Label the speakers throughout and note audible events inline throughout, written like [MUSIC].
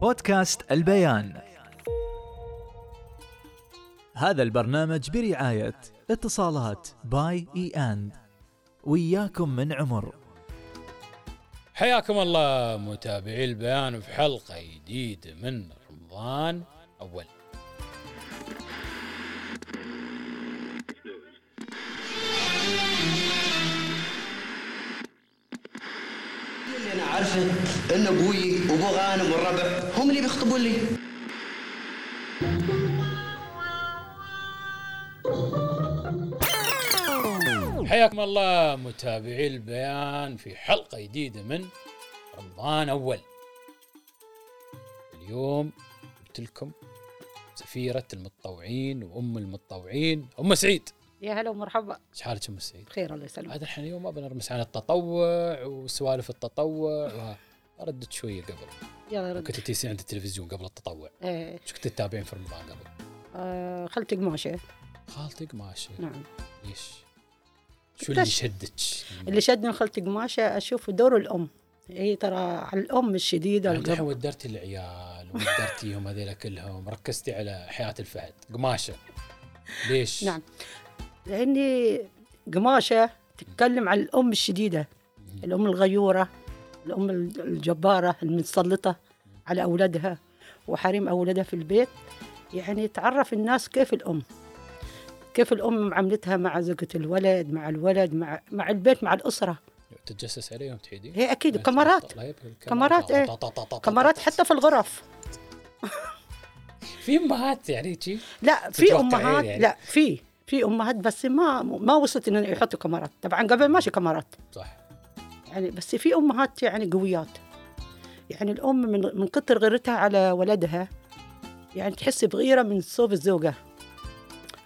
Speaker 1: بودكاست البيان هذا البرنامج برعاية اتصالات باي اي اند وياكم من عمر
Speaker 2: حياكم الله متابعي البيان في حلقة جديدة من رمضان أول
Speaker 3: اللي انا عارفه ان ابوي وابو غانم والربع هم اللي بيخطبون لي
Speaker 2: حياكم الله متابعي البيان في حلقة جديدة من رمضان أول اليوم جبت لكم سفيرة المتطوعين وأم المتطوعين أم سعيد
Speaker 4: يا هلا ومرحبا
Speaker 2: ايش حالك أم سعيد؟
Speaker 4: بخير الله يسلمك
Speaker 2: هذا الحين اليوم ابى نرمس عن التطوع وسوالف التطوع وها ردت شوية قبل
Speaker 4: يلا رد
Speaker 2: كنت تيسي عند التلفزيون قبل التطوع
Speaker 4: ايه
Speaker 2: شو كنت تتابعين في رمضان قبل؟
Speaker 4: آه خلت قماشه
Speaker 2: خالتك ماشي
Speaker 4: نعم
Speaker 2: ليش؟ شو اللي
Speaker 4: التش-
Speaker 2: شدك؟
Speaker 4: اللي شدني خلت قماشه اشوف دور الام هي ترى على الام الشديده
Speaker 2: يعني الحين
Speaker 4: الغضب
Speaker 2: ودرتي العيال ودرتيهم هذيلا كلهم ركزتي على حياه الفهد قماشه ليش؟
Speaker 4: نعم لاني قماشه تتكلم عن الام الشديده الام الغيوره الام الجباره المتسلطه على اولادها وحريم اولادها في البيت يعني تعرف الناس كيف الام كيف الام معاملتها مع زوجة الولد مع الولد مع مع البيت مع الاسره
Speaker 2: تتجسس عليهم طيب، تحيدين؟
Speaker 4: هي اكيد كاميرات
Speaker 2: لا يبقى الكاميرا.
Speaker 4: كاميرات، إيه.
Speaker 2: طا- طا- طا- طا-
Speaker 4: كاميرات
Speaker 2: طا-
Speaker 4: حتى في الغرف
Speaker 2: طيب. في امهات يعني شي
Speaker 4: لا في
Speaker 2: تتوقع
Speaker 4: امهات
Speaker 2: يعني.
Speaker 4: لا في في امهات بس ما ما وصلت ان يحطوا كاميرات طبعا قبل ماشي كاميرات
Speaker 2: صح
Speaker 4: يعني بس في امهات يعني قويات يعني الام من من كتر غيرتها على ولدها يعني تحس بغيره من صوب الزوجه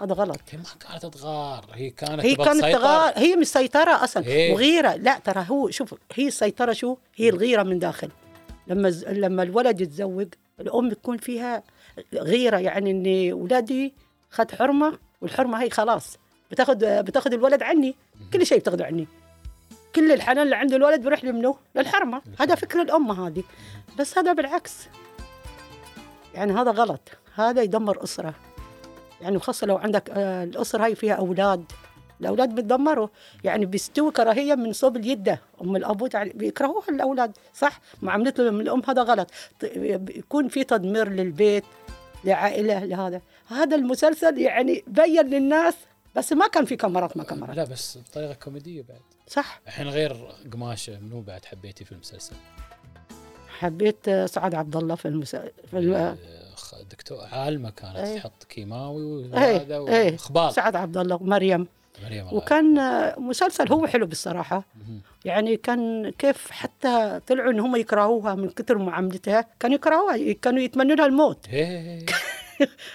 Speaker 4: هذا غلط
Speaker 2: هي ما كانت تغار هي كانت
Speaker 4: هي
Speaker 2: تبغى
Speaker 4: كانت
Speaker 2: تسيطر.
Speaker 4: تغار هي مسيطره اصلا
Speaker 2: إيه.
Speaker 4: وغيره لا ترى هو شوف هي السيطره شو هي الغيره من داخل لما ز- لما الولد يتزوج الام تكون فيها غيره يعني ان ولادي خد حرمه والحرمه هي خلاص بتاخد بتاخد الولد عني كل شيء بتاخده عني كل الحنان اللي عند الولد بيروح لمنه للحرمه هذا فكر الام هذه بس هذا بالعكس يعني هذا غلط هذا يدمر اسره يعني خاصه لو عندك آه، الاسره هي فيها اولاد الاولاد بتدمروا يعني بيستوي كراهيه من صوب اليده ام الابو تع- بيكرهوها الاولاد صح معاملتهم الام هذا غلط ط- يكون في تدمير للبيت لعائله لهذا هذا المسلسل يعني بين للناس بس ما كان في كاميرات ما كاميرات
Speaker 2: لا بس بطريقه كوميديه بعد
Speaker 4: صح
Speaker 2: الحين غير قماشه منو بعد حبيتي في المسلسل؟
Speaker 4: حبيت آه، سعاد عبد الله في المسا... في آه، الم...
Speaker 2: أخ- يعني دكتور عالمه كانت
Speaker 4: إيه.
Speaker 2: تحط كيماوي وهذا
Speaker 4: ايه ايه
Speaker 2: واخبار
Speaker 4: سعاد عبد الله ومريم
Speaker 2: مريم الله
Speaker 4: وكان آه، مسلسل هو حلو بالصراحه
Speaker 2: مهم.
Speaker 4: يعني كان كيف حتى طلعوا ان هم يكرهوها من كثر معاملتها كانوا يكرهوها كانوا يتمنوا لها الموت
Speaker 2: ايه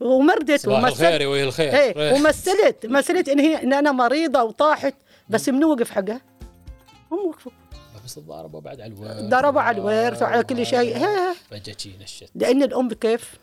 Speaker 4: ومردت
Speaker 2: صباح الخير
Speaker 4: ومثلت
Speaker 2: يا ويا الخير
Speaker 4: ايه
Speaker 2: إيه.
Speaker 4: ومثلت مثلت ان هي ان انا مريضه وطاحت بس منو وقف حقها؟ هم وقفوا
Speaker 2: بس ضربوا بعد على آه، الورث
Speaker 4: ضربوا على الورث وعلى كل شيء
Speaker 2: أه.
Speaker 4: إيه. هي
Speaker 2: فجاه شي نشت
Speaker 4: لان الام كيف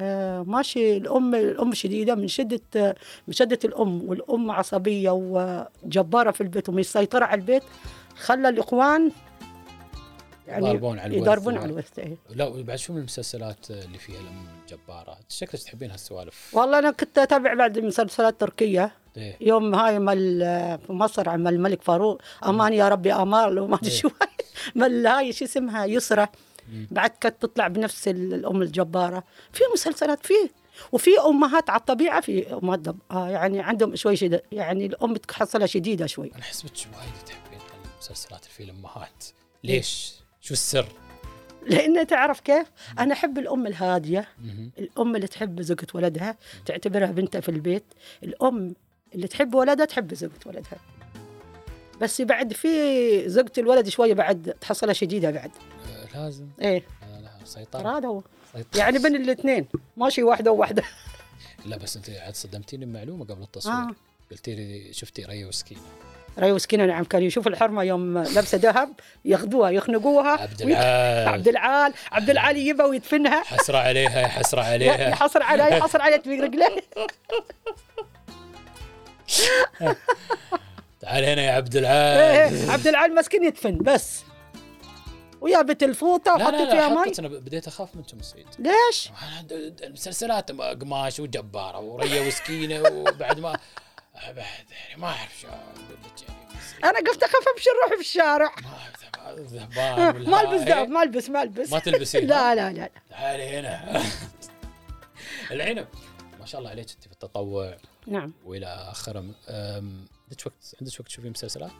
Speaker 4: آه ماشي الام الام شديده من شده آه، من شده الام والام عصبيه وجباره في البيت ومسيطره على البيت خلى الاخوان
Speaker 2: يضربون على الورث
Speaker 4: يضربون على الورث إيه.
Speaker 2: لا وبعد شو من المسلسلات اللي فيها الام جباره شكلك تحبين هالسوالف
Speaker 4: والله انا كنت اتابع بعد مسلسلات تركيه
Speaker 2: ايه
Speaker 4: يوم هاي مال في مصر عمل الملك فاروق امان يا ربي امال وما ادري شو هاي. مال هاي شو اسمها يسرى بعد كانت تطلع بنفس ال- الام الجباره في مسلسلات فيه وفي امهات على الطبيعه في امهات دب... آه يعني عندهم شوي شد... يعني الام تحصلها شديده شوي
Speaker 2: انا حسبت وايد تحبين المسلسلات اللي فيها الامهات ليش؟ شو السر؟
Speaker 4: لان تعرف كيف انا احب الام الهاديه الام اللي تحب زوجة ولدها تعتبرها بنتها في البيت الام اللي تحب ولدها تحب زوجة ولدها بس بعد في زوجة الولد شويه بعد تحصلها شديده بعد
Speaker 2: آه، لازم
Speaker 4: ايه
Speaker 2: لا لا
Speaker 4: ترى
Speaker 2: سيطرة
Speaker 4: هذا هو
Speaker 2: سيطرة.
Speaker 4: يعني بين الاثنين ماشي واحده وواحده
Speaker 2: لا بس انت عاد صدمتيني بمعلومه قبل التصوير
Speaker 4: آه.
Speaker 2: قلتي لي شفتي ريا وسكينه
Speaker 4: ريو سكينه نعم كان يشوف الحرمه يوم لابسه ذهب ياخذوها يخنقوها
Speaker 2: عبد
Speaker 4: ويت-
Speaker 2: العال
Speaker 4: عبد العال عبد العال يجيبها ويدفنها
Speaker 2: حسره عليها يا حسره عليها
Speaker 4: يحصل عليها يحصل عليها في رجليه
Speaker 2: تعال هنا يا عبد العال آه.
Speaker 4: إيه، عبد العال مسكين يدفن بس ويا الفوطه
Speaker 2: لا
Speaker 4: وحطي
Speaker 2: لا لا
Speaker 4: فيها مي
Speaker 2: حطيت انا بديت اخاف منكم الصيد
Speaker 4: ليش؟
Speaker 2: أنا د- د- مسلسلات م- قماش وجباره وريه وسكينه وبعد ما بعد يعني ما اعرف شو اقول لك يعني بس
Speaker 4: انا قلت اخاف امشي روحي في الشارع آه،
Speaker 2: ما أعرف ذب- الذهبان والهاي.
Speaker 4: [LAUGHS] ما البس ذهب ما البس ما البس
Speaker 2: ما تلبسين
Speaker 4: [LAUGHS] لا لا لا
Speaker 2: تعالي هنا [LAUGHS] العنب ما شاء الله عليك انت في التطوع
Speaker 4: نعم
Speaker 2: والى اخره أم، عندك وقت عندك وقت تشوفين مسلسلات؟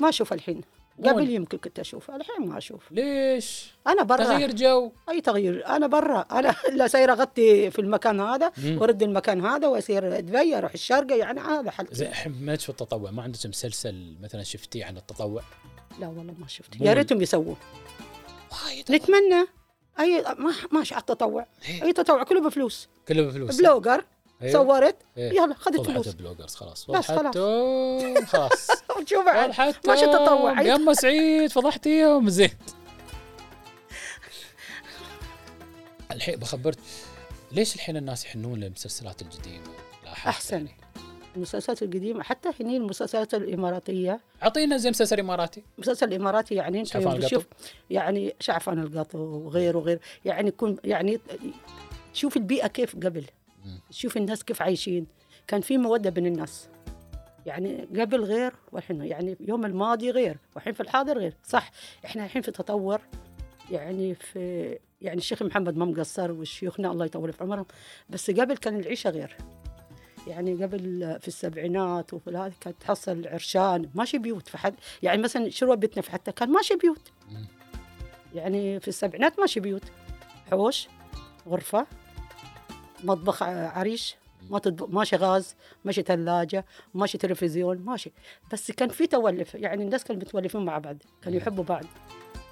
Speaker 4: ما اشوف الحين
Speaker 2: مو
Speaker 4: قبل
Speaker 2: ال-
Speaker 4: يمكن كنت اشوف الحين ما اشوف
Speaker 2: ليش؟
Speaker 4: انا برا
Speaker 2: تغير جو
Speaker 4: اي تغيير انا برا انا [LAUGHS] لا ساير اغطي في المكان هذا وارد المكان هذا واسير دبي اروح الشارقه يعني هذا
Speaker 2: زين
Speaker 4: حل
Speaker 2: الحين ما تشوف التطوع ما عندك مسلسل مثلا شفتيه عن التطوع؟
Speaker 4: لا والله ما شفت
Speaker 2: مو
Speaker 4: يا
Speaker 2: ال-
Speaker 4: ريتهم يسووا
Speaker 2: وايد
Speaker 4: نتمنى اي ما ماشي على التطوع
Speaker 2: إيه.
Speaker 4: اي تطوع كله بفلوس
Speaker 2: كله بفلوس
Speaker 4: بلوجر
Speaker 2: أيوة.
Speaker 4: صورت
Speaker 2: إيه.
Speaker 4: يلا خذت
Speaker 2: طلعت
Speaker 4: فلوس
Speaker 2: بلوجرز خلاص
Speaker 4: بس خلاص.
Speaker 2: فضحتهم،
Speaker 4: [LAUGHS]
Speaker 2: خلاص
Speaker 4: شوف عاد،
Speaker 2: فضحتهم
Speaker 4: ماشي التطوع أي-
Speaker 2: يما سعيد فضحتيهم
Speaker 4: [LAUGHS]
Speaker 2: زين الحين بخبرت ليش الحين الناس يحنون للمسلسلات القديمه؟ لاحظت
Speaker 4: احسن
Speaker 2: يعني.
Speaker 4: المسلسلات القديمه حتى هني المسلسلات الاماراتيه
Speaker 2: اعطينا زي مسلسل اماراتي
Speaker 4: المسلسل الاماراتي يعني انت
Speaker 2: شعفان
Speaker 4: يوم
Speaker 2: القطو؟
Speaker 4: بتشوف يعني شعفان القطو وغيره وغير يعني يكون يعني تشوف البيئه كيف قبل
Speaker 2: مم.
Speaker 4: تشوف الناس كيف عايشين كان في موده بين الناس يعني قبل غير والحين يعني يوم الماضي غير والحين في الحاضر غير صح احنا الحين في تطور يعني في يعني الشيخ محمد ما مقصر وشيوخنا الله يطول في عمرهم بس قبل كان العيشه غير يعني قبل في السبعينات وفي هذا كانت تحصل عرشان ماشي بيوت في حد يعني مثلا شروه بيتنا في حتى كان ماشي بيوت
Speaker 2: مم.
Speaker 4: يعني في السبعينات ماشي بيوت حوش غرفه مطبخ ع- عريش ما تطبخ ماشي غاز ماشي ثلاجه ماشي تلفزيون ماشي بس كان في تولف يعني الناس كانوا متولفين مع بعض كانوا يحبوا بعض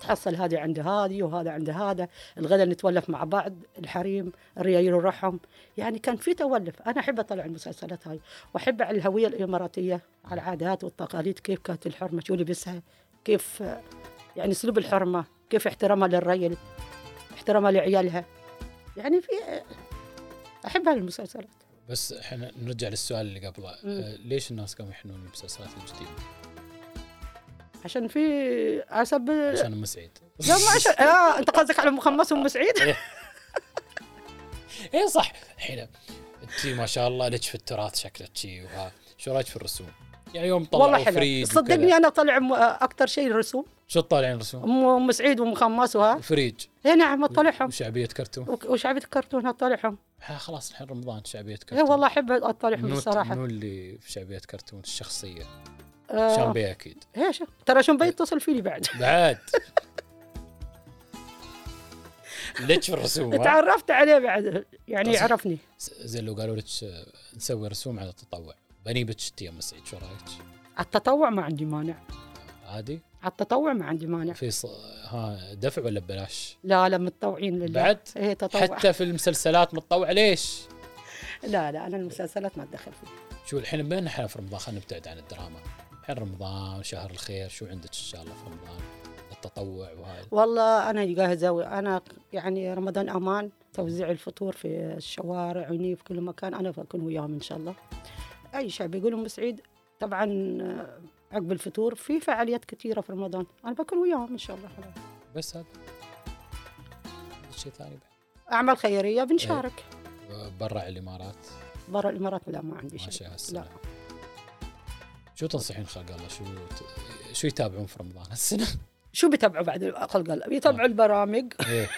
Speaker 4: تحصل هذه عند هذه وهذا عند هذا الغداء نتولف مع بعض الحريم الريايل روحهم يعني كان في تولف انا احب اطلع المسلسلات هاي واحب على الهويه الاماراتيه على العادات والتقاليد كيف كانت الحرمه شو لبسها كيف يعني اسلوب الحرمه كيف احترامها للرجل احترامها لعيالها يعني في احب هالمسلسلات
Speaker 2: بس احنا نرجع للسؤال اللي قبله
Speaker 4: مم.
Speaker 2: أه، ليش الناس قاموا يحنون للمسلسلات الجديده؟
Speaker 4: عشان في حسب
Speaker 2: [LAUGHS] عشان ام سعيد
Speaker 4: لا ما عشان آه انت قصدك على مخمس وام سعيد
Speaker 2: اي إيه صح الحين انت ما شاء الله لك في التراث شكلك شي وها شو رايك في الرسوم؟ يعني يوم طلعوا
Speaker 4: والله
Speaker 2: فريد
Speaker 4: حلو
Speaker 2: وكذا.
Speaker 4: صدقني انا طلع م- اكثر شيء رسوم
Speaker 2: شو تطالعين رسوم؟
Speaker 4: ام أم سعيد ومخمس وها
Speaker 2: فريج
Speaker 4: اي نعم اطلعهم
Speaker 2: وشعبيه كرتون
Speaker 4: وك- وشعبيه الكرتون اطلعهم
Speaker 2: ها خلاص الحين رمضان شعبيه كرتون
Speaker 4: اي إيه والله احب اطلعهم
Speaker 2: منو
Speaker 4: بصراحه
Speaker 2: منو اللي في شعبيه كرتون الشخصيه؟
Speaker 4: آه،
Speaker 2: شامبي اكيد
Speaker 4: إيه، شو- ترى شنبي يتصل فيني بعد
Speaker 2: بعد ليش في الرسوم ها؟
Speaker 4: تعرفت عليه بعد يعني
Speaker 2: تصل.
Speaker 4: يعرفني
Speaker 2: س- زي لو قالوا لك آه، نسوي رسوم على التطوع بني بتشتي يا مسعيد شو رايك؟
Speaker 4: على التطوع ما عندي مانع
Speaker 2: عادي؟
Speaker 4: على التطوع ما عندي مانع
Speaker 2: في ص... ها دفع ولا ببلاش؟
Speaker 4: لا لا متطوعين لله
Speaker 2: بعد؟
Speaker 4: ايه تطوع
Speaker 2: حتى في المسلسلات متطوع ليش؟
Speaker 4: [LAUGHS] لا لا انا المسلسلات ما اتدخل فيها
Speaker 2: شو الحين بما إن احنا في رمضان خلينا نبتعد عن الدراما الحين رمضان شهر الخير شو عندك ان شاء الله في رمضان التطوع وهاي
Speaker 4: والله انا جاهزه انا يعني رمضان امان توزيع الفطور في الشوارع هني في كل مكان انا بكون وياهم ان شاء الله اي شعب يقولوا ام سعيد طبعا آه، عقب الفطور في فعاليات كثيره في رمضان انا بكون وياهم ان شاء الله
Speaker 2: بس هذا شيء ثاني بعد
Speaker 4: اعمال خيريه بنشارك
Speaker 2: إيه. برا الامارات
Speaker 4: برا الامارات لا ما عندي
Speaker 2: ما
Speaker 4: شيء
Speaker 2: شاء
Speaker 4: لا
Speaker 2: السلام شو تنصحين خلق الله شو ت- شو يتابعون في رمضان هالسنه؟
Speaker 4: [LAUGHS] شو بيتابعوا بعد خلق الله بيتابعوا البرامج [LAUGHS]
Speaker 2: إيه. انت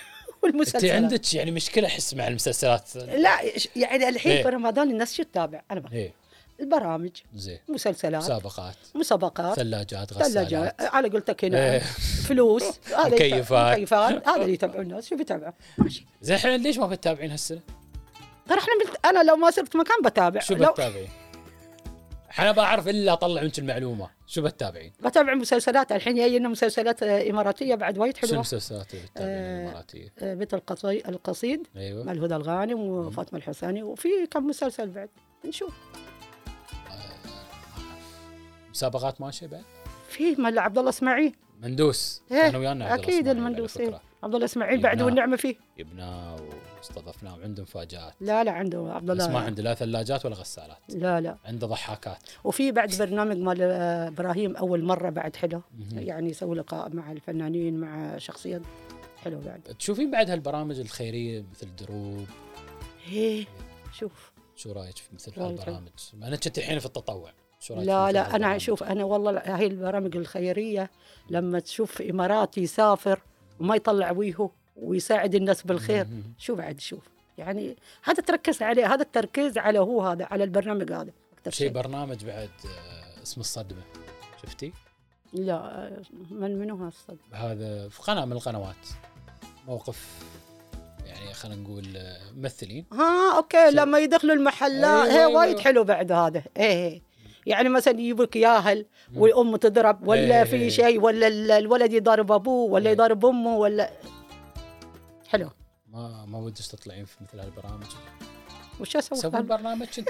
Speaker 4: والمسلسلات
Speaker 2: آه. عندك يعني مشكله احس مع المسلسلات
Speaker 4: لا ش- يعني الحين
Speaker 2: إيه.
Speaker 4: في رمضان الناس شو تتابع انا بقى.
Speaker 2: ايه
Speaker 4: البرامج
Speaker 2: زين
Speaker 4: مسلسلات
Speaker 2: مسابقات
Speaker 4: مسابقات
Speaker 2: ثلاجات
Speaker 4: ثلاجة
Speaker 2: غسالات
Speaker 4: على قولتك هنا
Speaker 2: إيه.
Speaker 4: فلوس هذا يتابع-
Speaker 2: مكيفات.
Speaker 4: مكيفات هذا اللي يتابعوا الناس شو بيتابعوا ماشي
Speaker 2: زين الحين ليش ما بتتابعين هالسنه؟
Speaker 4: ترى احنا بنت... انا لو ما صرت مكان بتابع
Speaker 2: شو
Speaker 4: لو
Speaker 2: بتتابعين؟ انا بعرف الا اطلع منك المعلومه شو بتتابعين؟
Speaker 4: بتابع مسلسلات الحين جاي لنا مسلسلات آه، اماراتيه بعد وايد
Speaker 2: شو
Speaker 4: حلوه
Speaker 2: المسلسلات اللي بتتابعين
Speaker 4: آه.
Speaker 2: الاماراتيه؟
Speaker 4: آه، مثل القصي... القصيد مع
Speaker 2: ايوه
Speaker 4: الهدى الغانم وفاطمه الحساني وفي كم مسلسل بعد نشوف
Speaker 2: مسابقات ماشيه بعد؟
Speaker 4: في مال عبد الله اسماعيل
Speaker 2: مندوس
Speaker 4: إيه،
Speaker 2: كان ويانا عبد الله
Speaker 4: أكيد
Speaker 2: إسماعيل يعني على
Speaker 4: المندوس،
Speaker 2: فكرة.
Speaker 4: عبد الله اسماعيل إيه بعد
Speaker 2: نعم.
Speaker 4: والنعمه فيه
Speaker 2: جبناه واستضفناه وعنده مفاجات
Speaker 4: لا لا عنده عبد
Speaker 2: بس ما
Speaker 4: الله
Speaker 2: عنده لا ثلاجات ولا غسالات
Speaker 4: لا لا
Speaker 2: عنده ضحاكات
Speaker 4: وفي بعد برنامج مال آه، ابراهيم اول مره بعد حلو يعني يسوي لقاء مع الفنانين مع شخصيات حلو بعد
Speaker 2: تشوفين بعد هالبرامج الخيريه مثل دروب إيه.
Speaker 4: هي شوف
Speaker 2: شو رايك في مثل
Speaker 4: والله.
Speaker 2: هالبرامج؟ انا كنت الحين في التطوع شو رايك
Speaker 4: لا
Speaker 2: في مثل
Speaker 4: لا انا
Speaker 2: هالبرامج؟
Speaker 4: اشوف انا والله هاي البرامج الخيريه لما تشوف اماراتي يسافر وما يطلع ويهو ويساعد الناس بالخير
Speaker 2: مهم.
Speaker 4: شو بعد شوف يعني هذا تركز عليه هذا التركيز على هو هذا على البرنامج هذا اكثر
Speaker 2: شي
Speaker 4: شيء
Speaker 2: برنامج بعد آه، اسمه الصدمه شفتي؟
Speaker 4: لا من منو هالصد
Speaker 2: هذا في قناه من القنوات موقف يعني خلينا نقول آه، ممثلين
Speaker 4: ها اوكي
Speaker 2: شو-
Speaker 4: لما يدخلوا المحلات
Speaker 2: أيوة،
Speaker 4: ايه
Speaker 2: أيوة.
Speaker 4: وايد حلو بعد هذا ايه يعني مثلا يجيبك ياهل
Speaker 2: مم.
Speaker 4: والام تضرب ولا
Speaker 2: إيه.
Speaker 4: في شيء ولا ال- الولد يضارب ابوه ولا
Speaker 2: إيه.
Speaker 4: يضارب امه ولا حلو
Speaker 2: ما ما ودش تطلعين في مثل هالبرامج
Speaker 4: وش اسوي
Speaker 2: سوي
Speaker 4: فهمت؟
Speaker 2: برنامج انت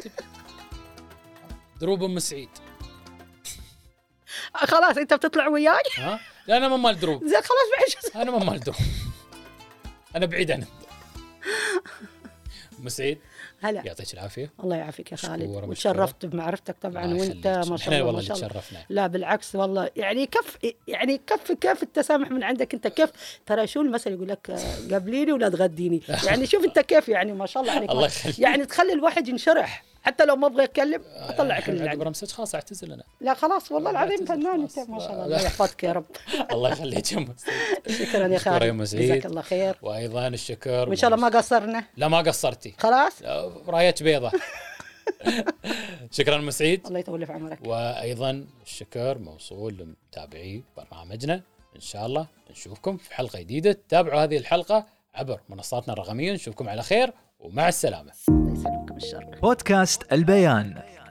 Speaker 2: دروب ام سعيد
Speaker 4: خلاص انت بتطلع وياي
Speaker 2: ها؟ لا انا ما مال دروب
Speaker 4: زين خلاص بعد شو أسوي؟
Speaker 2: انا ما مال دروب انا بعيد عن ام سعيد
Speaker 4: هلا
Speaker 2: يعطيك العافيه
Speaker 4: الله يعافيك يا خالد
Speaker 2: مشكور، مشكور.
Speaker 4: وتشرفت بمعرفتك طبعا
Speaker 2: الله
Speaker 4: وانت
Speaker 2: يخليك.
Speaker 4: ما شاء
Speaker 2: احنا
Speaker 4: الله
Speaker 2: والله
Speaker 4: ما
Speaker 2: اللي
Speaker 4: شاء الله
Speaker 2: تشرفنا
Speaker 4: لا بالعكس والله يعني كف يعني كف كيف التسامح من عندك انت كيف ترى شو المثل يقول لك آه، قابليني ولا تغديني يعني شوف انت كيف يعني ما شاء الله عليك
Speaker 2: الله يخليك.
Speaker 4: يعني تخلي الواحد ينشرح حتى لو ما ابغى يتكلم اطلع كل
Speaker 2: الحين
Speaker 4: اللي
Speaker 2: عقب
Speaker 4: عندي.
Speaker 2: رمسج خلاص اعتزل انا
Speaker 4: لا خلاص والله
Speaker 2: آه. لا
Speaker 4: العظيم
Speaker 2: تزعل
Speaker 4: فنان
Speaker 2: خلاص.
Speaker 4: انت ما شاء الله
Speaker 2: لا.
Speaker 4: الله يحفظك يا رب
Speaker 2: الله يخليك يا ام سعيد
Speaker 4: شكرا يا
Speaker 2: مشكور يا
Speaker 4: خالد
Speaker 2: أم سعيد.
Speaker 4: جزاك الله خير
Speaker 2: وايضا الشكر
Speaker 4: وان شاء الله ما قصرنا
Speaker 2: لا ما قصرتي
Speaker 4: خلاص
Speaker 2: رايك [LAUGHS] بيضه شكرا ام سعيد
Speaker 4: الله يطول في عمرك
Speaker 2: وايضا الشكر موصول لمتابعي برنامجنا ان شاء الله نشوفكم في حلقه جديده تابعوا هذه الحلقه عبر منصاتنا الرقميه نشوفكم على خير ومع السلامه
Speaker 4: الله يسلمك بالشر
Speaker 1: بودكاست البيان